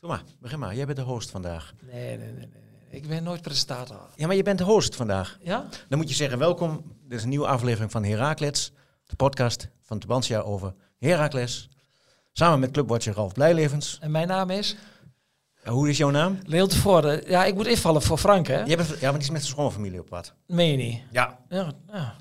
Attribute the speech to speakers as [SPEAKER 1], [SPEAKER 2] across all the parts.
[SPEAKER 1] Doe maar, begin maar. Jij bent de host vandaag.
[SPEAKER 2] Nee, nee, nee. nee. Ik ben nooit presentator.
[SPEAKER 1] Ja, maar je bent de host vandaag.
[SPEAKER 2] Ja?
[SPEAKER 1] Dan moet je zeggen, welkom. Dit is een nieuwe aflevering van Herakles. De podcast van Tubantia over Herakles. Samen met clubwatcher Ralf Blijlevens.
[SPEAKER 2] En mijn naam is
[SPEAKER 1] Eh, Hoe is jouw naam?
[SPEAKER 2] Leel Tevoorde. Ja, ik moet invallen voor Frank, hè?
[SPEAKER 1] Jij bent, ja, want die is met zijn schoonfamilie op pad.
[SPEAKER 2] Meen je niet?
[SPEAKER 1] Ja.
[SPEAKER 2] Ja, nou, ja.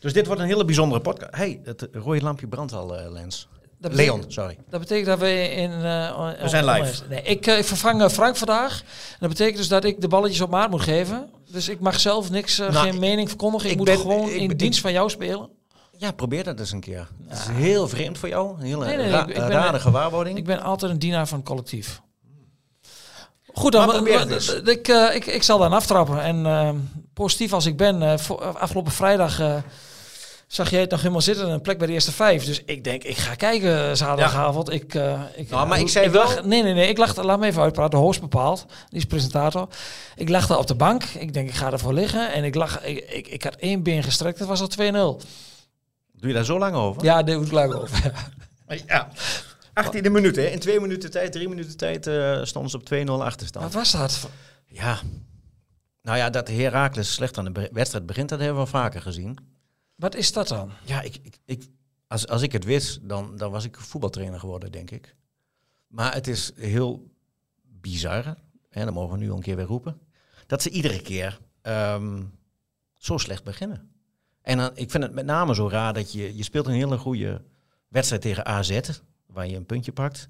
[SPEAKER 1] Dus dit wordt een hele bijzondere podcast. hey, het rode lampje brandt al, eh, Lens.
[SPEAKER 2] Dat betekent-
[SPEAKER 1] Leon, sorry.
[SPEAKER 2] Dat betekent dat we in... eh,
[SPEAKER 1] We zijn live.
[SPEAKER 2] online- Nee, ik, eh, ik vervang eh, Frank vandaag. En dat betekent dus dat ik de balletjes op maat moet geven. Dus ik mag zelf niks, eh,
[SPEAKER 1] Nou,
[SPEAKER 2] geen mening verkondigen. Ik,
[SPEAKER 1] ik
[SPEAKER 2] moet
[SPEAKER 1] ben-
[SPEAKER 2] gewoon
[SPEAKER 1] ik
[SPEAKER 2] in
[SPEAKER 1] ben-
[SPEAKER 2] dienst van jou spelen.
[SPEAKER 1] Ja, probeer dat eens een keer. Het is heel vreemd voor jou. Een hele
[SPEAKER 2] Nee, nee,
[SPEAKER 1] ra-
[SPEAKER 2] ik- ik ben-
[SPEAKER 1] rare gewaarwording.
[SPEAKER 2] Ik ben altijd een dienaar van het collectief. Goed dan,
[SPEAKER 1] Maar probeer het dus.
[SPEAKER 2] eh,
[SPEAKER 1] eens.
[SPEAKER 2] ik, eh, ik, ik zal dan aftrappen. En eh, positief als ik ben, eh, vo- afgelopen vrijdag eh, zag jij het nog helemaal zitten, een plek bij de eerste vijf. Dus ik denk, ik ga kijken eh, zaterdagavond. Ik, eh, ik,
[SPEAKER 1] Nou, maar
[SPEAKER 2] eh,
[SPEAKER 1] ik zei wel-
[SPEAKER 2] lag- nee, nee, nee, ik lag, laat me even uitpraten, de host bepaalt, die is presentator. Ik lag daar op de bank, ik denk, ik ga ervoor liggen. En ik lag, ik, ik, ik had één been gestrekt, dat was al 2-0.
[SPEAKER 1] Doe je daar zo lang over?
[SPEAKER 2] Ja, daar moet ik lang over.
[SPEAKER 1] Ja. 18e minuut, hè? In twee minuten tijd, drie minuten tijd eh stonden ze op 2-0
[SPEAKER 2] Wat
[SPEAKER 1] achterstand.
[SPEAKER 2] was dat?
[SPEAKER 1] Ja. Nou ja, dat Herakles slecht aan de be- wedstrijd begint, dat hebben we vaker gezien.
[SPEAKER 2] Wat is dat dan?
[SPEAKER 1] Ja, ik, ik, ik, als, als ik het wist, dan, dan was ik voetbaltrainer geworden, denk ik. Maar het is heel bizar, hè, dat mogen we nu al een keer weer roepen, dat ze iedere keer ehm, zo slecht beginnen. En dan, ik vind het met name zo raar dat je, je speelt een hele goede wedstrijd tegen AZ, waar je een puntje pakt.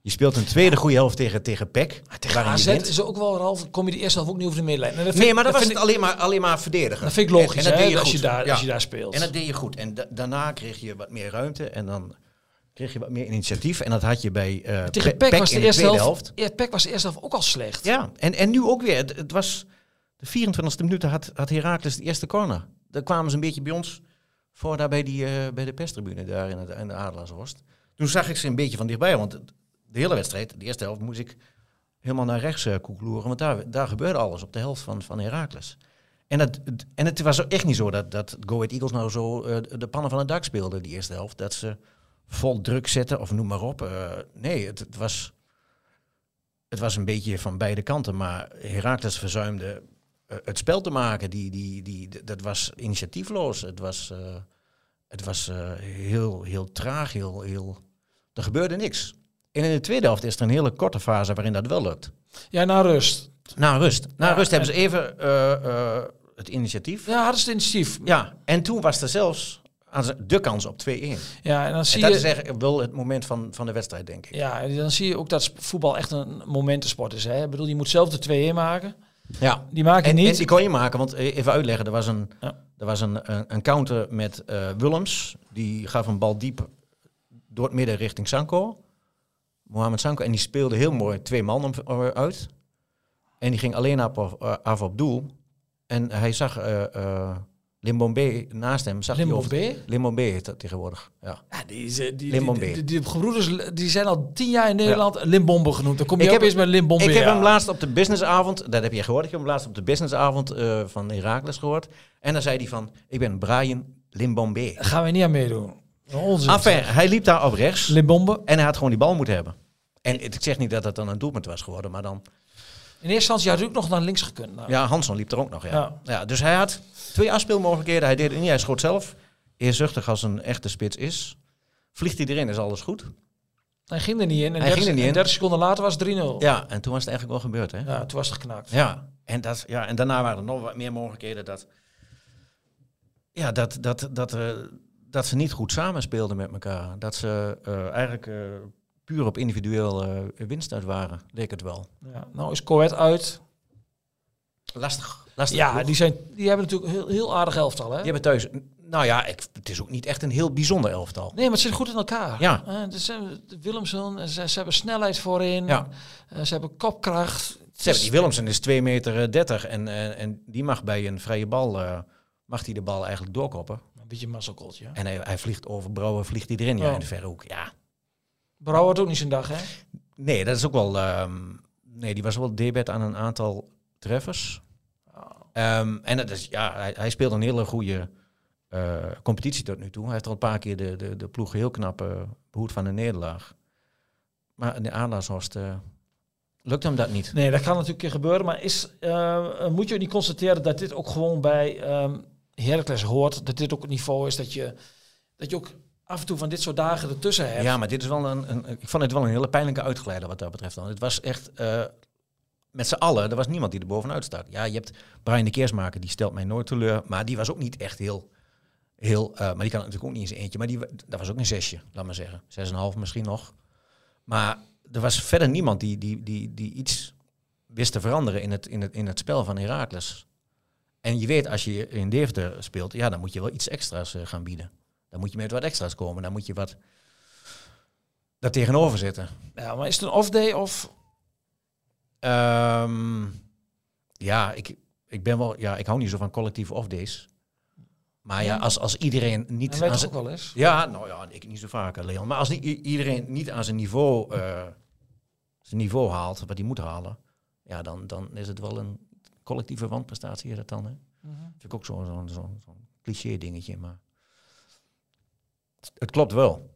[SPEAKER 1] Je speelt een tweede goede helft tegen, tegen PEC,
[SPEAKER 2] Tegen
[SPEAKER 1] waarin je
[SPEAKER 2] AZ
[SPEAKER 1] wint.
[SPEAKER 2] is ook wel Ralf, kom je de eerste helft ook niet over de middenlijn. En dat vind
[SPEAKER 1] Nee,
[SPEAKER 2] ik-
[SPEAKER 1] maar dat was
[SPEAKER 2] vind
[SPEAKER 1] het
[SPEAKER 2] ik,
[SPEAKER 1] alleen maar, alleen maar verdedigen.
[SPEAKER 2] dat vind ik logisch,
[SPEAKER 1] En dat
[SPEAKER 2] hè,
[SPEAKER 1] deed je
[SPEAKER 2] als, je
[SPEAKER 1] goed.
[SPEAKER 2] daar, als
[SPEAKER 1] Ja.
[SPEAKER 2] je daar speelt.
[SPEAKER 1] En dat deed je goed. En da- daarna kreeg je wat meer ruimte en dan kreeg je wat meer initiatief. En dat had je bij eh Pe-
[SPEAKER 2] Tegen Peck was
[SPEAKER 1] in
[SPEAKER 2] de eerste
[SPEAKER 1] tweede
[SPEAKER 2] helft, Ja, Peck was de eerste helft ook al slecht.
[SPEAKER 1] Ja, en, en nu ook weer. Het, het was de 24e minuut had, had Heracles de eerste corner. Daar kwamen ze een beetje bij ons voor daar bij, die, eh, bij de pestribune daar in, het, in de Adelaarshorst. Toen zag ik ze een beetje van dichtbij, want de hele wedstrijd, de eerste helft, moest ik helemaal naar rechts eh koekloeren. Want daar, daar gebeurde alles op de helft van, van Heracles. En, dat, het- en het was echt niet zo dat, dat Go Ahead Eagles nou zo eh, de pannen van het dak speelden, die eerste helft. Dat ze vol druk zetten of noem maar op. Eh, nee, het, het was het was een beetje van beide kanten, maar Herakles verzuimde eh, het spel te maken. Die, die, die, d- dat was initiatiefloos. Het was, eh, het was eh, heel, heel traag, heel, heel... Er gebeurde niks. En in de tweede helft is er een hele korte fase waarin dat wel lukt.
[SPEAKER 2] Ja, na rust.
[SPEAKER 1] Na rust. Na
[SPEAKER 2] Ja,
[SPEAKER 1] rust hebben ze even eh, eh, het initiatief.
[SPEAKER 2] Ja, hadden ze het initiatief.
[SPEAKER 1] Ja, en toen was er zelfs aan ze- de kans op 2-1.
[SPEAKER 2] Ja, en dan zie
[SPEAKER 1] En dat
[SPEAKER 2] je...
[SPEAKER 1] is echt wel het moment van, van de wedstrijd, denk ik.
[SPEAKER 2] Ja, en dan zie je ook dat sp- voetbal echt een momentensport is. Hè? Ik bedoel, je moet zelf de 2-1 maken.
[SPEAKER 1] Ja.
[SPEAKER 2] Die maak je
[SPEAKER 1] En,
[SPEAKER 2] niet.
[SPEAKER 1] en die kon je maken, want eh, even uitleggen, er was een,
[SPEAKER 2] Ja.
[SPEAKER 1] er was een, een, een counter met eh Willems. Die gaf een bal diep door het midden richting Sanko. Mohamed Sanko. En die speelde heel mooi twee man om- eh, uit. En die ging alleen af op, eh, af op doel. En hij zag eh eh Limbombe naast hem. Zag hij
[SPEAKER 2] Limbo
[SPEAKER 1] over-
[SPEAKER 2] B.
[SPEAKER 1] Limbombe heet dat tegenwoordig. Ja.
[SPEAKER 2] Ja, die, is, eh, die, die,
[SPEAKER 1] Limbombe.
[SPEAKER 2] die, die gebroeders die zijn al tien jaar in Nederland Limbombe genoemd. Dan kom je
[SPEAKER 1] Ik
[SPEAKER 2] ook
[SPEAKER 1] heb-
[SPEAKER 2] eens bij Limbombe.
[SPEAKER 1] Ik heb
[SPEAKER 2] ja.
[SPEAKER 1] hem laatst op de businessavond, dat heb je gehoord, ik heb hem laatst op de businessavond eh, van Herakles gehoord. En dan zei hij van, ik ben Brian Limbombe.
[SPEAKER 2] Daar gaan we niet aan meedoen. Onzin.
[SPEAKER 1] Enfin, Ah, hij liep daar op rechts
[SPEAKER 2] Limbombe.
[SPEAKER 1] en hij had gewoon die bal moeten hebben. En het- ik zeg niet dat dat dan een doelpunt was geworden, maar dan...
[SPEAKER 2] In eerste instantie had hij ook nog naar links gekund. Nou,
[SPEAKER 1] Ja, Hanson liep er ook nog, ja.
[SPEAKER 2] Ja.
[SPEAKER 1] ja. dus hij had twee afspeelmogelijkheden. Hij deed het niet, hij schoot zelf. Eerzuchtig als een echte spits is. Vliegt hij erin, is alles goed.
[SPEAKER 2] Hij ging er niet in. En
[SPEAKER 1] Hij ging
[SPEAKER 2] 30,
[SPEAKER 1] er niet
[SPEAKER 2] en
[SPEAKER 1] in.
[SPEAKER 2] 30 seconden later was het 3-0. Ja.
[SPEAKER 1] Ja, en toen was het eigenlijk wel gebeurd, hè.
[SPEAKER 2] toen was het geknakt.
[SPEAKER 1] Ja, en, dat, ja, en daarna waren er nog wat meer mogelijkheden dat... Ja, dat, dat, dat, eh, dat ze niet goed samenspeelden met elkaar. Dat ze eh, eigenlijk eh, puur op individueel eh, winst uit waren, leek het wel.
[SPEAKER 2] Ja, nou is Coët uit.
[SPEAKER 1] Lastig. lastig
[SPEAKER 2] Ja,
[SPEAKER 1] ploeg.
[SPEAKER 2] die, zijn, die hebben natuurlijk heel, heel aardig elftal. Hè?
[SPEAKER 1] Die hebben thuis. Nou ja, ik, het is ook niet echt een heel bijzonder elftal.
[SPEAKER 2] Nee, maar het zit goed in elkaar.
[SPEAKER 1] Ja.
[SPEAKER 2] Eh, dus, eh, Willemsen, eh, ze, ze hebben snelheid voorin.
[SPEAKER 1] Ja.
[SPEAKER 2] Eh, ze hebben kopkracht.
[SPEAKER 1] Ze
[SPEAKER 2] dus-
[SPEAKER 1] hebben die Willemsen is 2 meter eh, 30 en, en, en die mag bij een vrije bal. eh, mag hij de bal eigenlijk doorkoppen.
[SPEAKER 2] Een beetje mazzelkooltje.
[SPEAKER 1] En hij, hij vliegt over Brouwer, vliegt hij erin. Ja,
[SPEAKER 2] Ja.
[SPEAKER 1] in de verre hoek. Ja.
[SPEAKER 2] Brouwer had ook niet zijn dag, hè?
[SPEAKER 1] Nee, dat is ook wel. ehm, nee, die was wel debet aan een aantal treffers. Ehm, en dat is, ja, hij, hij speelde een hele goede eh, competitie tot nu toe. Hij heeft al een paar keer de, de, de ploeg heel knap eh, behoed van de nederlaag. Maar de Adelaarshorst eh, Lukt hem dat niet?
[SPEAKER 2] Nee, dat kan natuurlijk een keer gebeuren. Maar is, eh, moet je ook niet constateren dat dit ook gewoon bij ehm Heracles hoort? Dat dit ook het niveau is dat je, dat je ook af en toe van dit soort dagen ertussen hebt.
[SPEAKER 1] Ja, maar dit is wel een, een. Ik vond het wel een hele pijnlijke uitgeleider wat dat betreft. Dan. Het was echt. eh, met z'n allen, er was niemand die er bovenuit staat. Ja, je hebt Brian de Keersmaker, die stelt mij nooit teleur. Maar die was ook niet echt heel. heel eh, maar die kan het natuurlijk ook niet in zijn eentje. Maar die, wa- dat was ook een zesje, laat maar zeggen. Zes en een half misschien nog. Maar er was verder niemand die, die, die, die iets wist te veranderen in het, in het, in het spel van Herakles. En je weet, als je in Deventer speelt, ja, dan moet je wel iets extra's eh, gaan bieden. Dan moet je met wat extra's komen. Dan moet je wat daar tegenover zitten.
[SPEAKER 2] Ja, maar is het een off-day of...
[SPEAKER 1] Ehm, ja, ik, ik ben wel, ja, ik hou niet zo van collectieve off-days. Maar ja, als, als iedereen
[SPEAKER 2] Dat
[SPEAKER 1] niet
[SPEAKER 2] weet
[SPEAKER 1] aan
[SPEAKER 2] toch
[SPEAKER 1] zijn...
[SPEAKER 2] ook wel eens.
[SPEAKER 1] Ja, nou ja, ik niet zo vaak, hè, Leon. Maar als niet, i- iedereen niet aan zijn niveau, eh, zijn niveau haalt, wat hij moet halen, ja, dan, dan is het wel een collectieve wanprestatie, is dat dan, hè? Vind ik ook zo'n zo, zo, zo'n cliché dingetje, maar... Het klopt wel.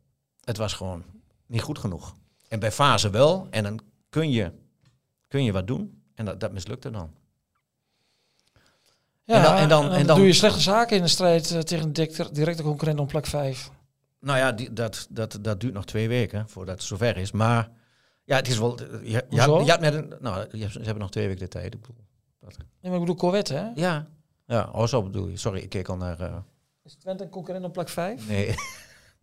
[SPEAKER 1] Het was gewoon niet goed genoeg. En bij fase wel, en dan kun je, kun je wat doen. En dat, dat mislukte dan.
[SPEAKER 2] Ja, en dan, en, dan,
[SPEAKER 1] en dan-
[SPEAKER 2] doe je slechte zaken in de strijd eh, tegen de dik- directe concurrent om plek 5.
[SPEAKER 1] Nou ja, die, dat, dat, dat duurt nog twee weken voordat het zover is. Maar ja, het is wel... Je, je, had- je,
[SPEAKER 2] Hoezo?
[SPEAKER 1] had net een, nou, je, hebt- ze hebben nog twee weken de tijd. Ik bedoel,
[SPEAKER 2] Nee, maar ik bedoel Corvette, hè?
[SPEAKER 1] ja. Ja, oh, zo bedoel je. Sorry, ik keek al naar... eh,
[SPEAKER 2] Is Twente een concurrent op plek 5?
[SPEAKER 1] nee,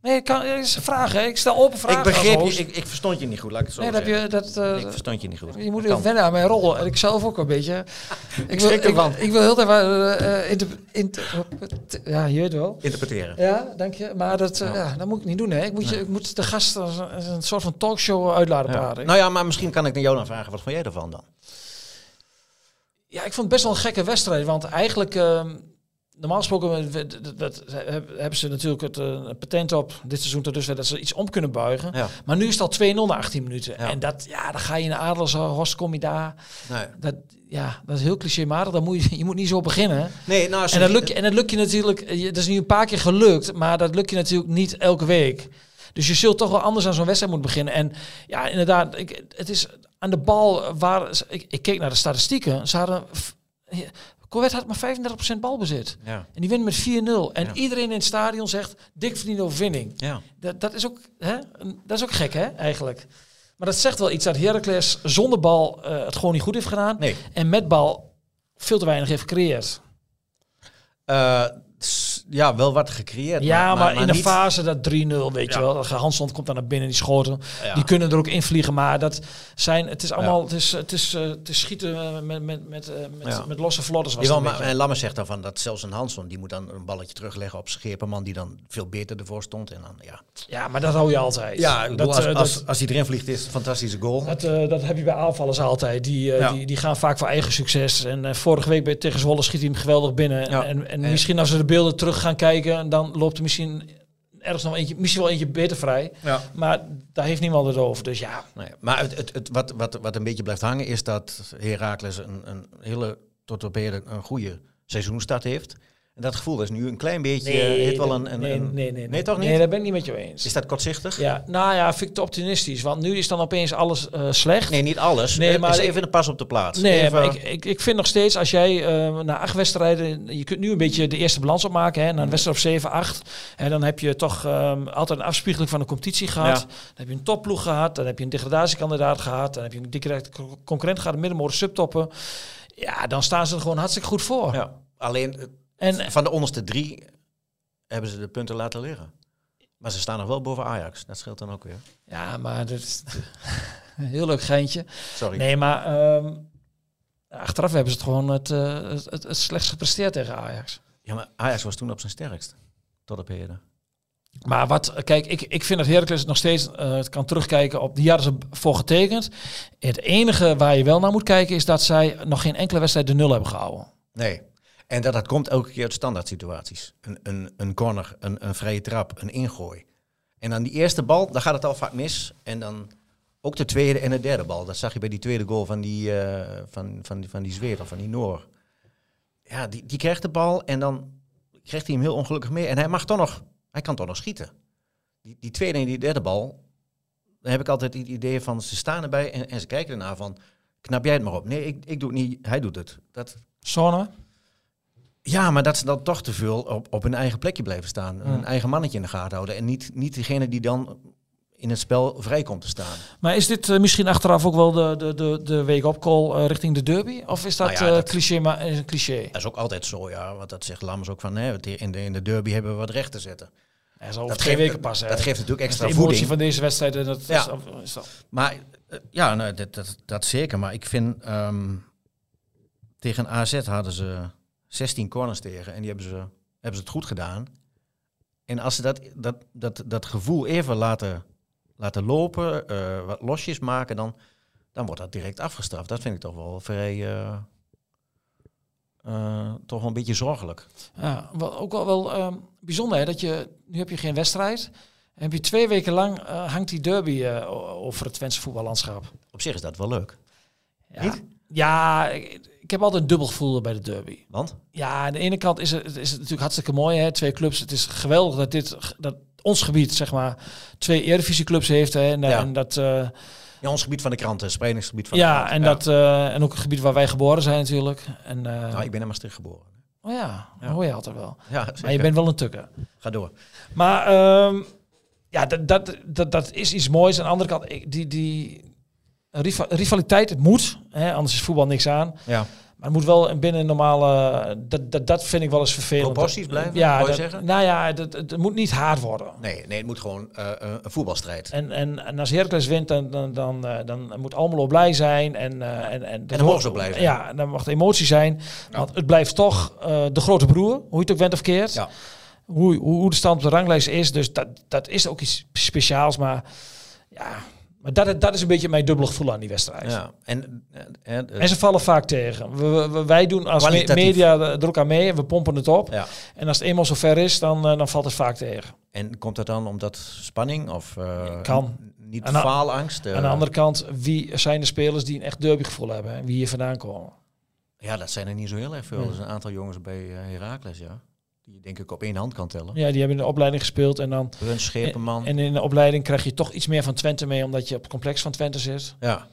[SPEAKER 2] Nee, ik kan, dat is een vraag, hè? Ik stel open vragen
[SPEAKER 1] ik begreep
[SPEAKER 2] als
[SPEAKER 1] je.
[SPEAKER 2] host.
[SPEAKER 1] Ik, ik verstond je niet goed, laat ik het zo
[SPEAKER 2] nee, dat
[SPEAKER 1] zeggen.
[SPEAKER 2] heb je... Dat, eh,
[SPEAKER 1] ik verstond je niet goed.
[SPEAKER 2] Je
[SPEAKER 1] Dat
[SPEAKER 2] moet even
[SPEAKER 1] kan.
[SPEAKER 2] wennen aan mijn rol. En ik zelf ook een beetje. Ik wil,
[SPEAKER 1] schrik
[SPEAKER 2] ik,
[SPEAKER 1] ervan.
[SPEAKER 2] ik wil heel even... eh, eh, inter- inter- ja, je weet wel.
[SPEAKER 1] Interpreteren.
[SPEAKER 2] Ja, dank je. Maar dat,
[SPEAKER 1] Ja.
[SPEAKER 2] eh, ja, dat moet ik niet doen, hè? Ik moet, je, ik moet de gasten als een, als een soort van talkshow uitladen
[SPEAKER 1] Ja.
[SPEAKER 2] praten.
[SPEAKER 1] Nou ja, maar misschien kan ik naar jou dan vragen, wat vond jij ervan dan?
[SPEAKER 2] Ja, ik vond het best wel een gekke wedstrijd. Want eigenlijk, ehm, normaal gesproken we- we- dat- dat- heb- hebben ze natuurlijk het eh, patent op dit seizoen tot dusver dat ze iets om kunnen buigen.
[SPEAKER 1] Ja.
[SPEAKER 2] Maar nu is het al 2-0 na 18 minuten.
[SPEAKER 1] Ja.
[SPEAKER 2] En dat, ja, dan ga je in de Adelshorst, kom je daar.
[SPEAKER 1] Nee,
[SPEAKER 2] Dat, ja, dat is heel clichématig. Dan moet je, je moet niet zo beginnen.
[SPEAKER 1] nee nou... ze-
[SPEAKER 2] En dat, lukt, je- en dat lukt je natuurlijk, eh, je- dat is nu een paar keer gelukt, maar dat lukt je natuurlijk niet elke week. Dus je zult toch wel anders aan zo'n wedstrijd moeten beginnen. En ja, inderdaad, ik, het is aan de bal eh, waar... ze- Ik, ik keek naar de statistieken. Ze hadden... f- eh, Corvette had maar 35% balbezit.
[SPEAKER 1] Ja,
[SPEAKER 2] En die wint met 4-0. En
[SPEAKER 1] Ja.
[SPEAKER 2] iedereen in het stadion zegt, dik verdiende overwinning.
[SPEAKER 1] ja.
[SPEAKER 2] Dat, dat, is ook, hè? Een- dat is ook gek, hè, eigenlijk. Maar dat zegt wel iets dat Heracles zonder bal eh, het gewoon niet goed heeft gedaan.
[SPEAKER 1] Nee.
[SPEAKER 2] En met bal veel te weinig heeft gecreëerd.
[SPEAKER 1] Eh, s- ja, wel wat gecreëerd.
[SPEAKER 2] Ja, maar, in de
[SPEAKER 1] niet-
[SPEAKER 2] fase dat 3-0, weet
[SPEAKER 1] Ja.
[SPEAKER 2] je wel. Hansson komt dan naar binnen, die schoten.
[SPEAKER 1] Ja.
[SPEAKER 2] Die kunnen er ook in vliegen. Maar dat zijn, het is allemaal, het, is, het, is, eh, het is schieten eh, met, met, met, eh, met,
[SPEAKER 1] Ja.
[SPEAKER 2] met losse vlotters. Was
[SPEAKER 1] Jawel,
[SPEAKER 2] het een
[SPEAKER 1] maar,
[SPEAKER 2] beetje.
[SPEAKER 1] en Lammers zegt daarvan dat zelfs een Hanson die moet dan een balletje terugleggen op Scheperman die dan veel beter ervoor stond en dan ja.
[SPEAKER 2] ja, maar dat hou je altijd.
[SPEAKER 1] Ja, ik bedoel,
[SPEAKER 2] dat,
[SPEAKER 1] als,
[SPEAKER 2] eh,
[SPEAKER 1] als,
[SPEAKER 2] dat,
[SPEAKER 1] als hij erin vliegt is het een fantastische goal.
[SPEAKER 2] dat, eh, dat heb je bij aanvallers altijd. Die, eh,
[SPEAKER 1] Ja.
[SPEAKER 2] die, die gaan vaak voor eigen succes. En eh, vorige week bij, tegen Zwolle schiet hij hem geweldig binnen.
[SPEAKER 1] Ja.
[SPEAKER 2] En, en
[SPEAKER 1] En-
[SPEAKER 2] misschien als we de beelden terug gaan kijken, dan loopt er misschien ergens nog eentje, misschien wel eentje beter vrij.
[SPEAKER 1] Ja.
[SPEAKER 2] Maar daar heeft niemand het over. Dus ja,
[SPEAKER 1] Nee, Nou maar het, het, het, wat, wat, wat een beetje blijft hangen is dat Heracles een, een hele tot op heden een goede seizoenstart heeft. En dat gevoel is nu een klein beetje heeft wel
[SPEAKER 2] dat-
[SPEAKER 1] een, een,
[SPEAKER 2] nee,
[SPEAKER 1] een-
[SPEAKER 2] nee, nee,
[SPEAKER 1] toch niet?
[SPEAKER 2] Nee, daar ben ik niet met je eens.
[SPEAKER 1] Is dat kortzichtig?
[SPEAKER 2] Ja, nou ja, vind ik te optimistisch. Want nu is dan opeens alles eh, slecht.
[SPEAKER 1] Nee, niet alles.
[SPEAKER 2] Nee,
[SPEAKER 1] Nee,
[SPEAKER 2] maar
[SPEAKER 1] maar
[SPEAKER 2] ik-
[SPEAKER 1] even een pas op de plaats.
[SPEAKER 2] Nee,
[SPEAKER 1] Even-
[SPEAKER 2] maar ik, ik, ik vind nog steeds, als jij eh, na acht wedstrijden, je kunt nu een beetje de eerste balans opmaken, hè, na een wedstrijd op 7, 8, hè, dan heb je toch ehm, altijd een afspiegeling van de competitie gehad.
[SPEAKER 1] Ja.
[SPEAKER 2] Dan heb je een topploeg gehad, dan heb je een degradatiekandidaat gehad, dan heb je een directe co- concurrent gehad, een middenmotor subtoppen. Ja, dan staan ze er gewoon hartstikke goed voor.
[SPEAKER 1] ja. Alleen eh,
[SPEAKER 2] En
[SPEAKER 1] van de onderste drie hebben ze de punten laten liggen. Maar ze staan nog wel boven Ajax. Dat scheelt dan ook weer.
[SPEAKER 2] ja, maar dat is een heel leuk geintje.
[SPEAKER 1] Sorry.
[SPEAKER 2] Nee, maar ehm, achteraf hebben ze het gewoon het, eh, het, het, het slechtst gepresteerd tegen Ajax.
[SPEAKER 1] Ja, maar Ajax was toen op zijn sterkst. Tot op heden.
[SPEAKER 2] Maar wat, kijk, ik, ik vind dat Heracles het nog steeds eh, het kan terugkijken op de jaren ze voor getekend. Het enige waar je wel naar moet kijken is dat zij nog geen enkele wedstrijd de nul hebben gehouden.
[SPEAKER 1] Nee. En dat, dat komt elke keer uit standaard situaties. Een, een, een corner, een, een vrije trap, een ingooi. En dan die eerste bal, dan gaat het al vaak mis. En dan ook de tweede en de derde bal. Dat zag je bij die tweede goal van die, eh, van, van, die- van die Zweer, van die Noor. Ja, die, die krijgt de bal en dan krijgt hij hem heel ongelukkig mee. En hij mag toch nog, hij kan toch nog schieten. Die, die tweede en die derde bal, dan heb ik altijd het idee van ze staan erbij en, en ze kijken ernaar van, knap jij het maar op. Nee, ik, ik doe het niet, hij doet het. Dat,
[SPEAKER 2] Sonne?
[SPEAKER 1] ja, maar dat ze dan toch te veel op, op hun eigen plekje blijven staan.
[SPEAKER 2] Ja.
[SPEAKER 1] Hun eigen mannetje in de gaten houden en niet, niet degene die dan in het spel vrij komt te staan.
[SPEAKER 2] Maar is dit eh, misschien achteraf ook wel de, de, de, de wake-up call eh, richting de derby? Of is dat,
[SPEAKER 1] Nou ja,
[SPEAKER 2] eh,
[SPEAKER 1] dat-
[SPEAKER 2] cliché, maar is een cliché?
[SPEAKER 1] Dat is ook altijd zo, ja, want dat zegt Lammers ook van, nee, in, de, in de derby hebben we wat recht te zetten.
[SPEAKER 2] Hij zal over
[SPEAKER 1] Dat
[SPEAKER 2] twee
[SPEAKER 1] geeft-
[SPEAKER 2] weken passen.
[SPEAKER 1] Dat geeft natuurlijk
[SPEAKER 2] extra
[SPEAKER 1] extra
[SPEAKER 2] de emotie
[SPEAKER 1] voeding.
[SPEAKER 2] van deze wedstrijd. En dat
[SPEAKER 1] Ja.
[SPEAKER 2] is, is dat-
[SPEAKER 1] Maar eh, ja, nou, dat, dat, dat zeker. Maar ik vind ehm, tegen AZ hadden ze 16 corners tegen en die hebben ze, hebben ze het goed gedaan. En als ze dat, dat, dat, dat gevoel even laten, laten lopen, eh, wat losjes maken, dan, dan wordt dat direct afgestraft. Dat vind ik toch wel vrij. eh, eh, toch wel een beetje zorgelijk.
[SPEAKER 2] Ja, wel, ook wel, wel ehm, bijzonder hè, dat je nu heb je geen wedstrijd. En heb je twee weken lang eh, hangt die derby eh, o- over het Twentse voetballandschap.
[SPEAKER 1] Op zich is dat wel leuk.
[SPEAKER 2] Ja,
[SPEAKER 1] Niet?
[SPEAKER 2] ja ik, ik heb altijd een dubbel gevoel bij de derby.
[SPEAKER 1] Want?
[SPEAKER 2] Ja, aan de ene kant is het, is het natuurlijk hartstikke mooi, hè, twee clubs. Het is geweldig dat dit dat ons gebied zeg maar twee eredivisieclubs heeft hè, en, eh,
[SPEAKER 1] Ja.
[SPEAKER 2] en dat. eh,
[SPEAKER 1] Ja, ons gebied van de kranten, het spreidingsgebied van de
[SPEAKER 2] Ja,
[SPEAKER 1] kranten.
[SPEAKER 2] en, Dat, eh, en ook het gebied waar wij geboren zijn natuurlijk. En, eh,
[SPEAKER 1] Nou, ik ben in Maastricht geboren.
[SPEAKER 2] Oh ja, dat
[SPEAKER 1] Ja.
[SPEAKER 2] hoor je altijd wel.
[SPEAKER 1] Ja,
[SPEAKER 2] Maar
[SPEAKER 1] zeker.
[SPEAKER 2] je bent wel een tukker.
[SPEAKER 1] Ga door.
[SPEAKER 2] Maar ehm, ja, dat, dat, dat, dat is iets moois. Aan de andere kant, ik- die, die riva- rivaliteit, het moet. Hè, anders is voetbal niks aan.
[SPEAKER 1] Ja.
[SPEAKER 2] Maar het moet wel een binnen een normale... Dat, dat, dat vind ik wel eens vervelend.
[SPEAKER 1] Proporties blijven,
[SPEAKER 2] ja,
[SPEAKER 1] wou je
[SPEAKER 2] dat-
[SPEAKER 1] zeggen?
[SPEAKER 2] Nou ja, dat- het het moet niet hard worden.
[SPEAKER 1] Nee, nee, het moet gewoon eh, eh, een voetbalstrijd. En,
[SPEAKER 2] En, en, en als Heracles wint, dan, dan, dan, eh, dan moet Almelo blij zijn. En, eh, en, en,
[SPEAKER 1] dan mogen ze ook blij zijn.
[SPEAKER 2] Ja, en dan mag de emotie zijn. Want het blijft toch eh, de grote broer, hoe je het ook went of keert.
[SPEAKER 1] Ja.
[SPEAKER 2] Hoe, hoe, hoe de stand op de ranglijst is. Dus dat, dat is ook iets speciaals. Maar, ja, maar dat, dat is een beetje mijn dubbele gevoel aan die wedstrijd.
[SPEAKER 1] ja. en, eh, eh,
[SPEAKER 2] En ze vallen vaak tegen. We, we- wij doen als me-
[SPEAKER 1] Kwalitatief.
[SPEAKER 2] media er ook aan mee en we pompen het op.
[SPEAKER 1] ja.
[SPEAKER 2] En als het eenmaal zover is, dan, eh, dan valt het vaak tegen.
[SPEAKER 1] en komt dat dan omdat spanning of eh,
[SPEAKER 2] Kan.
[SPEAKER 1] n- niet
[SPEAKER 2] Aan de-
[SPEAKER 1] faalangst? eh,
[SPEAKER 2] Aan de andere kant, wie zijn de spelers die een echt derbygevoel hebben en wie hier vandaan komen?
[SPEAKER 1] Ja, dat zijn er niet zo heel erg veel.
[SPEAKER 2] Nee.
[SPEAKER 1] Er zijn een aantal jongens bij eh, Heracles, ja. Die je denk ik op één hand kan tellen.
[SPEAKER 2] Ja, die hebben in de opleiding gespeeld en dan.
[SPEAKER 1] Bruns, Schepenman.
[SPEAKER 2] En in de opleiding krijg je toch iets meer van Twente mee, omdat je op het complex van Twente zit.
[SPEAKER 1] ja.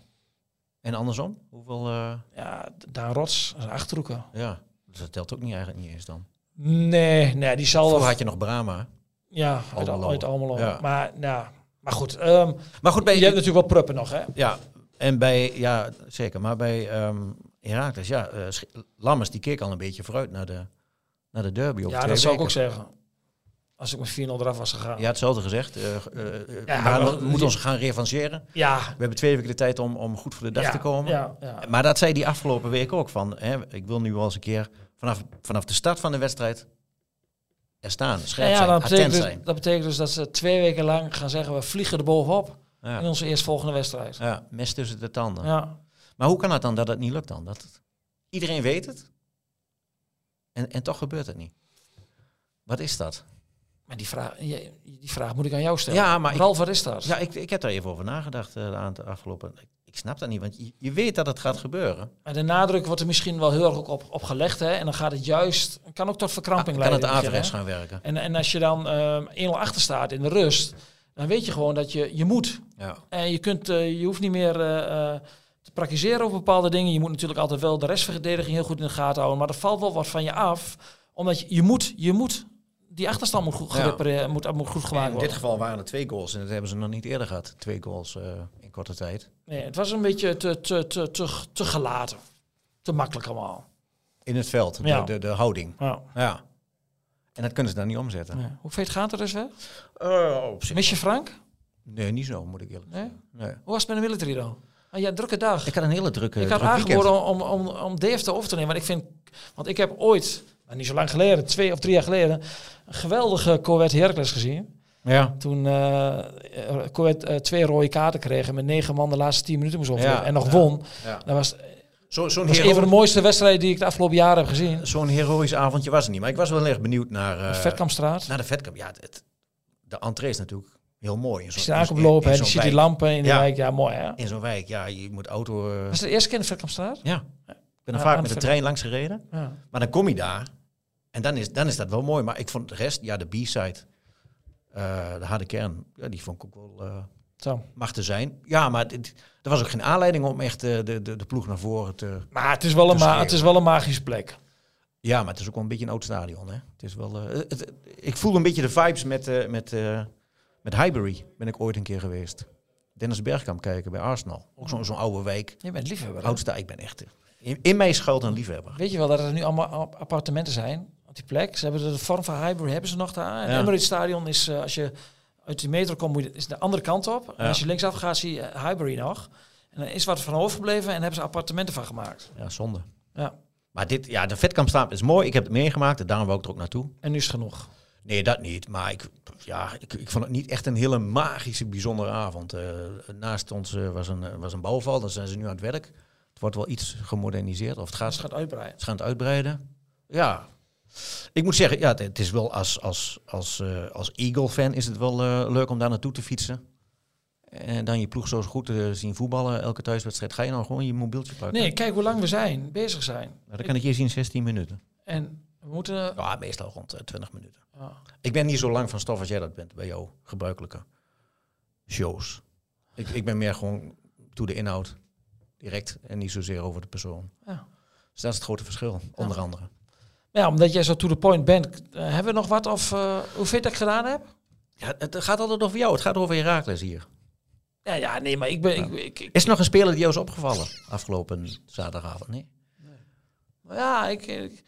[SPEAKER 1] En andersom? Hoeveel? eh,
[SPEAKER 2] Ja, Daan Rots, dat is een achterhoeken.
[SPEAKER 1] ja. Dus dat telt ook niet eigenlijk niet eens dan.
[SPEAKER 2] Nee, nee, die zal
[SPEAKER 1] Vroeger
[SPEAKER 2] wel.
[SPEAKER 1] had je nog Brama.
[SPEAKER 2] Ja, uit
[SPEAKER 1] Almelo.
[SPEAKER 2] Al- uit Almelo.
[SPEAKER 1] Ja.
[SPEAKER 2] Maar, nou, maar goed, ehm,
[SPEAKER 1] Maar goed, bij,
[SPEAKER 2] je hebt natuurlijk wel pruppen nog, hè?
[SPEAKER 1] Ja, en bij, ja, zeker. Maar bij ehm Herakles, ja, eh, Sch- Lammers die keek al een beetje vooruit naar de, naar de derby. Op
[SPEAKER 2] Ja,
[SPEAKER 1] twee
[SPEAKER 2] dat zou ik
[SPEAKER 1] weken.
[SPEAKER 2] ook zeggen. Als ik met 4-0 eraf was gegaan.
[SPEAKER 1] Je had hetzelfde gezegd. eh, eh, eh,
[SPEAKER 2] Ja,
[SPEAKER 1] maar
[SPEAKER 2] maar-
[SPEAKER 1] we moeten ons gaan revancheren.
[SPEAKER 2] ja.
[SPEAKER 1] We hebben twee weken de tijd om, om goed voor de dag
[SPEAKER 2] ja,
[SPEAKER 1] te komen.
[SPEAKER 2] Ja, ja.
[SPEAKER 1] Maar dat zei die afgelopen week ook. Van, hè, ik wil nu wel eens een keer vanaf, vanaf de start van de wedstrijd er staan.
[SPEAKER 2] Ja,
[SPEAKER 1] Scherp
[SPEAKER 2] ja,
[SPEAKER 1] zijn,
[SPEAKER 2] dat,
[SPEAKER 1] attent
[SPEAKER 2] betekent dus,
[SPEAKER 1] zijn.
[SPEAKER 2] dat betekent dus dat ze twee weken lang gaan zeggen, we vliegen er bovenop in
[SPEAKER 1] Ja.
[SPEAKER 2] onze eerstvolgende wedstrijd.
[SPEAKER 1] Ja, mes tussen de tanden.
[SPEAKER 2] Ja.
[SPEAKER 1] Maar hoe kan het dan dat het niet lukt dan? Dat het- iedereen weet het en, en toch gebeurt het niet. Wat is dat?
[SPEAKER 2] Maar die vraag, je- die vraag moet ik aan jou stellen.
[SPEAKER 1] Ja, maar ik-
[SPEAKER 2] Ralf, wat is dat?
[SPEAKER 1] Ja, ik, ik heb daar even over nagedacht eh, aan de afgelopen... Ik, ik snap dat niet, want je, je weet dat het gaat gebeuren.
[SPEAKER 2] Maar de nadruk wordt er misschien wel heel erg ook op, op gelegd. Hè? En dan gaat het juist, kan ook tot verkramping
[SPEAKER 1] Ah, kan het
[SPEAKER 2] leiden. weet je,
[SPEAKER 1] averechts
[SPEAKER 2] hè?
[SPEAKER 1] gaan werken.
[SPEAKER 2] En, en als je dan ehm 1-0 achter staat in de rust, dan weet je gewoon dat je, je moet.
[SPEAKER 1] Ja.
[SPEAKER 2] En je, kunt, eh, je hoeft niet meer eh, eh, te praktiseren op bepaalde dingen. Je moet natuurlijk altijd wel de restverdediging heel goed in de gaten houden. Maar er valt wel wat van je af, omdat je, je moet, je moet. Die achterstand moet goed,
[SPEAKER 1] Ja.
[SPEAKER 2] gerepareerd- moet, moet goed gemaakt
[SPEAKER 1] In dit
[SPEAKER 2] worden.
[SPEAKER 1] geval waren er twee goals en dat hebben ze nog niet eerder gehad. Twee goals eh, in korte tijd.
[SPEAKER 2] Nee, het was een beetje te, te, te, te, te gelaten. Te makkelijk allemaal.
[SPEAKER 1] In het veld, de,
[SPEAKER 2] Ja.
[SPEAKER 1] de, de houding.
[SPEAKER 2] Ja.
[SPEAKER 1] Ja. En dat kunnen ze dan niet omzetten.
[SPEAKER 2] Ja. Hoe veet gaat het dus weer?
[SPEAKER 1] Eh, op zich.
[SPEAKER 2] Mis je Frank?
[SPEAKER 1] Nee, niet zo, moet ik eerlijk
[SPEAKER 2] Nee?
[SPEAKER 1] zeggen. Nee.
[SPEAKER 2] Hoe was het met de military dan? Ah, ja, drukke dag.
[SPEAKER 1] Ik had een hele drukke
[SPEAKER 2] Ik had
[SPEAKER 1] druk weekend.
[SPEAKER 2] aangeboden om, om, om DFT over te nemen. Want ik, vind, want ik heb ooit, maar niet zo lang geleden, twee of drie jaar geleden, een geweldige Corvette Hercules gezien.
[SPEAKER 1] Ja.
[SPEAKER 2] Toen eh, eh Corvette eh, twee rode kaarten kreeg en met negen man de laatste tien minuten moest opnemen
[SPEAKER 1] Ja,
[SPEAKER 2] en nog
[SPEAKER 1] ja.
[SPEAKER 2] won.
[SPEAKER 1] ja.
[SPEAKER 2] Dat was,
[SPEAKER 1] Zo, zo'n
[SPEAKER 2] dat was een van de mooiste wedstrijden die ik de afgelopen jaren heb gezien.
[SPEAKER 1] Zo'n heroïsch avondje was het niet. Maar ik was wel erg benieuwd naar, eh,
[SPEAKER 2] Vetkampstraat.
[SPEAKER 1] naar de vetkamp. Ja, het, het- de entree is natuurlijk heel mooi. In
[SPEAKER 2] Als
[SPEAKER 1] zo'n
[SPEAKER 2] je daar aankomt
[SPEAKER 1] in- in
[SPEAKER 2] lopen, hè,
[SPEAKER 1] zo'n
[SPEAKER 2] dan zie je die
[SPEAKER 1] wijk-
[SPEAKER 2] lampen in de
[SPEAKER 1] Ja.
[SPEAKER 2] wijk. Ja, mooi hè.
[SPEAKER 1] In zo'n wijk, ja, je moet auto... eh,
[SPEAKER 2] Was het de eerste keer in de Vetkampstraat?
[SPEAKER 1] ja, ik ben er
[SPEAKER 2] Ja,
[SPEAKER 1] vaak
[SPEAKER 2] aan
[SPEAKER 1] met
[SPEAKER 2] de
[SPEAKER 1] de trein langs gereden.
[SPEAKER 2] Ja.
[SPEAKER 1] Maar dan kom je daar en dan is, dan is dat wel mooi. Maar ik vond de rest, ja, de B-side, eh, de harde kern, ja, die vond ik ook wel... eh,
[SPEAKER 2] Zo.
[SPEAKER 1] mag er zijn. Ja, maar dit, er was ook geen aanleiding om echt eh, de, de, de ploeg naar voren te...
[SPEAKER 2] Maar het is, wel een ma-
[SPEAKER 1] schreeuwen.
[SPEAKER 2] het is wel een magische plek.
[SPEAKER 1] Ja, maar het is ook wel een beetje een oud stadion. Hè? Het is wel, eh, het- ik voel een beetje de vibes met, eh, met, eh, met Highbury. Ben ik ooit een keer geweest. Dennis Bergkamp kijken bij Arsenal. Ook zo'n zo'n oude wijk.
[SPEAKER 2] Je bent liefhebber. hè?
[SPEAKER 1] Oud sta- ik ben echt... eh, In, in mij schuilt een liefhebber.
[SPEAKER 2] Weet je wel dat er nu allemaal ap- appartementen zijn op die plek? Ze hebben de vorm van Highbury hebben ze nog daar. En
[SPEAKER 1] Ja.
[SPEAKER 2] Emirates Stadion is eh, als je uit die metro komt, moet je, is de andere kant op. En
[SPEAKER 1] Ja.
[SPEAKER 2] als je linksaf gaat, zie je eh, Highbury nog. En er is wat van overgebleven en hebben ze appartementen van gemaakt.
[SPEAKER 1] Ja, zonde.
[SPEAKER 2] Ja.
[SPEAKER 1] Maar dit, ja, de vetkamp staat is mooi. Ik heb het meegemaakt en daarom wou ik er ook naartoe.
[SPEAKER 2] En nu is het genoeg.
[SPEAKER 1] Nee, dat niet. Maar ik, ja, ik, ik vond het niet echt een hele magische, bijzondere avond. Eh, naast ons eh, was, een, eh, was een bouwval. Daar zijn ze nu aan het werk. Het wordt wel iets gemoderniseerd. Of het gaat
[SPEAKER 2] Als het gaat uitbreiden.
[SPEAKER 1] Ze gaan het uitbreiden. Ja. Ik moet zeggen, ja, het- het is wel als, als, als, eh, als Eagle-fan is het wel eh, leuk om daar naartoe te fietsen. En dan je ploeg zo goed te zien voetballen elke thuiswedstrijd. Ga je nou gewoon je mobieltje pakken?
[SPEAKER 2] Nee, kijk hoe lang we zijn, bezig zijn.
[SPEAKER 1] Nou, dan kan ik hier zien 16 minuten.
[SPEAKER 2] En we moeten...
[SPEAKER 1] Ja, meestal rond eh, 20 minuten.
[SPEAKER 2] ah,
[SPEAKER 1] Ik ben niet zo lang van stof als jij dat bent bij jouw gebruikelijke shows. Ik, ik ben meer gewoon toe de inhoud direct en niet zozeer over de persoon.
[SPEAKER 2] ja.
[SPEAKER 1] Dus dat is het grote verschil, onder andere.
[SPEAKER 2] Ja, omdat jij zo to the point bent, eh, hebben we nog wat? Of eh, hoe vind ik het gedaan heb?
[SPEAKER 1] Ja, het gaat altijd over jou. Het gaat over Herakles hier.
[SPEAKER 2] Ja, ja, nee, maar ik ben... Ik, ik, ik-
[SPEAKER 1] Is er nog een speler die jou is opgevallen afgelopen zaterdagavond? Nee.
[SPEAKER 2] ja, ik, ik-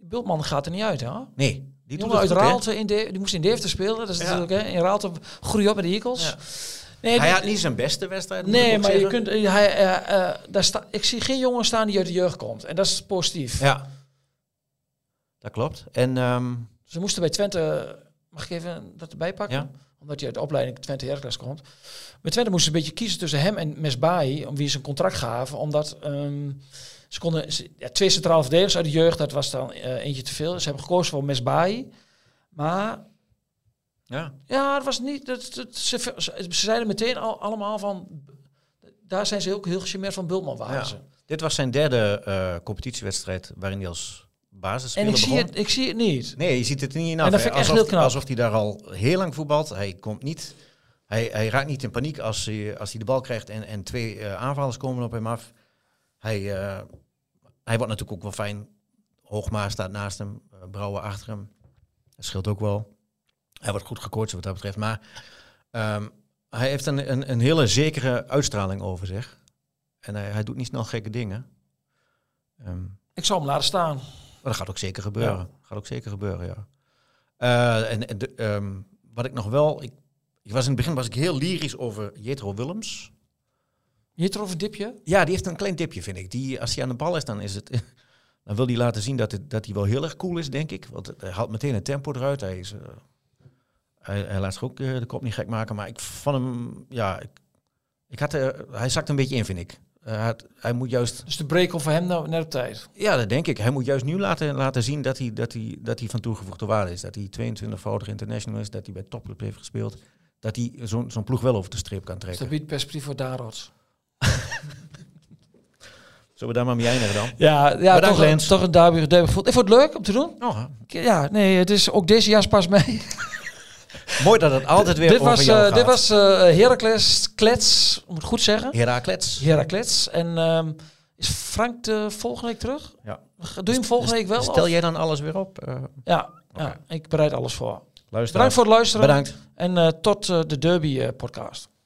[SPEAKER 2] Bultman gaat er niet uit, hè?
[SPEAKER 1] Nee. Die
[SPEAKER 2] Die
[SPEAKER 1] doet
[SPEAKER 2] jongen
[SPEAKER 1] het
[SPEAKER 2] uit
[SPEAKER 1] goed, hè?
[SPEAKER 2] Raalte, in de, die moest in Deventer spelen. Dat is
[SPEAKER 1] Ja.
[SPEAKER 2] natuurlijk, hè, in Raalte groei op bij de Eagles.
[SPEAKER 1] Ja.
[SPEAKER 2] Nee,
[SPEAKER 1] Hij
[SPEAKER 2] die-
[SPEAKER 1] had niet zijn beste wedstrijd. moet ik
[SPEAKER 2] nee
[SPEAKER 1] ook
[SPEAKER 2] maar je
[SPEAKER 1] zeggen.
[SPEAKER 2] kunt, eh, hij, eh, eh, daar sta, ik zie geen jongen staan die uit de jeugd komt. En dat is positief.
[SPEAKER 1] Ja. Dat klopt. En ehm,
[SPEAKER 2] Ze moesten bij Twente, mag ik even dat erbij pakken?
[SPEAKER 1] Ja.
[SPEAKER 2] Omdat hij uit de opleiding Twente Heracles komt. Bij Twente moesten ze een beetje kiezen tussen hem en Mesbaai, om wie ze een contract gaven. Omdat ehm, ze konden, ze- ja, twee centrale verdedigers uit de jeugd, dat was dan eh, eentje te veel. Ze hebben gekozen voor Mesbaai. Maar
[SPEAKER 1] ja.
[SPEAKER 2] Ja, het was niet. Dat, dat- ze, ze ze zeiden meteen al, allemaal van. Daar zijn ze ook heel gecharmeerd van Bulman waren
[SPEAKER 1] Ja.
[SPEAKER 2] ze.
[SPEAKER 1] Dit was zijn derde eh, competitiewedstrijd waarin hij als
[SPEAKER 2] En
[SPEAKER 1] basisspeler
[SPEAKER 2] ik zie,
[SPEAKER 1] begon.
[SPEAKER 2] het, ik zie het niet.
[SPEAKER 1] Nee, je ziet het er niet in
[SPEAKER 2] En
[SPEAKER 1] af.
[SPEAKER 2] dat
[SPEAKER 1] hè.
[SPEAKER 2] vind ik echt
[SPEAKER 1] alsof,
[SPEAKER 2] heel knap.
[SPEAKER 1] Alsof hij daar al heel lang voetbalt. Hij komt niet... Hij, hij raakt niet in paniek als hij, als hij de bal krijgt en, en twee eh, aanvallers komen op hem af. Hij, eh, hij wordt natuurlijk ook wel fijn. Hoogma staat naast hem, eh, Brouwer achter hem. Dat scheelt ook wel. Hij wordt goed gecoacht wat dat betreft. Maar ehm, hij heeft een, een, een hele zekere uitstraling over zich. En hij, hij doet niet snel gekke dingen. Ehm,
[SPEAKER 2] Ik zal hem laten staan.
[SPEAKER 1] maar dat gaat ook zeker gebeuren. Gaat ook zeker gebeuren, ja. Eh, en en de, ehm, wat ik nog wel... Ik, ik was in het begin was ik heel lyrisch over Jetro Willems.
[SPEAKER 2] Hier trof een dipje.
[SPEAKER 1] Ja, die heeft een klein dipje, vind ik. Die, als hij aan de bal is, dan is het... Dan wil hij laten zien dat, het, dat hij wel heel erg cool is, denk ik. Want het- hij haalt meteen het tempo eruit. Hij, is, eh, hij, hij laat zich ook eh, de kop niet gek maken. Maar ik vond hem... Ja, ik, ik had, er- hij zakt een beetje in, vind ik. Eh, hij had- hij moet juist
[SPEAKER 2] Dus de break over hem nou net op tijd.
[SPEAKER 1] ja, dat denk ik. Hij moet juist nu laten, laten zien dat hij, dat, hij, dat hij van toegevoegde waarde is. Dat hij 22-voudig international is, dat hij bij topclub heeft gespeeld. Dat hij zo'n zo'n ploeg wel over de streep kan trekken.
[SPEAKER 2] Stabiet Dus perspectief voor Darot.
[SPEAKER 1] Zullen we daar maar mee eindigen dan?
[SPEAKER 2] Ja, ja
[SPEAKER 1] Bedankt,
[SPEAKER 2] toch, een,
[SPEAKER 1] Lens.
[SPEAKER 2] toch een derby, derby gevoel. Ik vond het leuk om te doen.
[SPEAKER 1] Oh,
[SPEAKER 2] Ik- Ja, nee, het is ook deze jas pas mee.
[SPEAKER 1] mooi dat het altijd weer
[SPEAKER 2] dit,
[SPEAKER 1] over
[SPEAKER 2] was,
[SPEAKER 1] jou
[SPEAKER 2] eh
[SPEAKER 1] gaat.
[SPEAKER 2] dit was eh Heracles, Klets, moet ik het goed zeggen.
[SPEAKER 1] Heracles.
[SPEAKER 2] Heracles. En ehm, is Frank de volgende week terug?
[SPEAKER 1] Ja.
[SPEAKER 2] Doe je hem volgende week wel?
[SPEAKER 1] Stel
[SPEAKER 2] of-
[SPEAKER 1] jij dan alles weer op? eh
[SPEAKER 2] Ja, ja, ik bereid alles voor.
[SPEAKER 1] luister.
[SPEAKER 2] Bedankt voor het luisteren.
[SPEAKER 1] Bedankt.
[SPEAKER 2] En eh, tot eh, de Derby eh, podcast.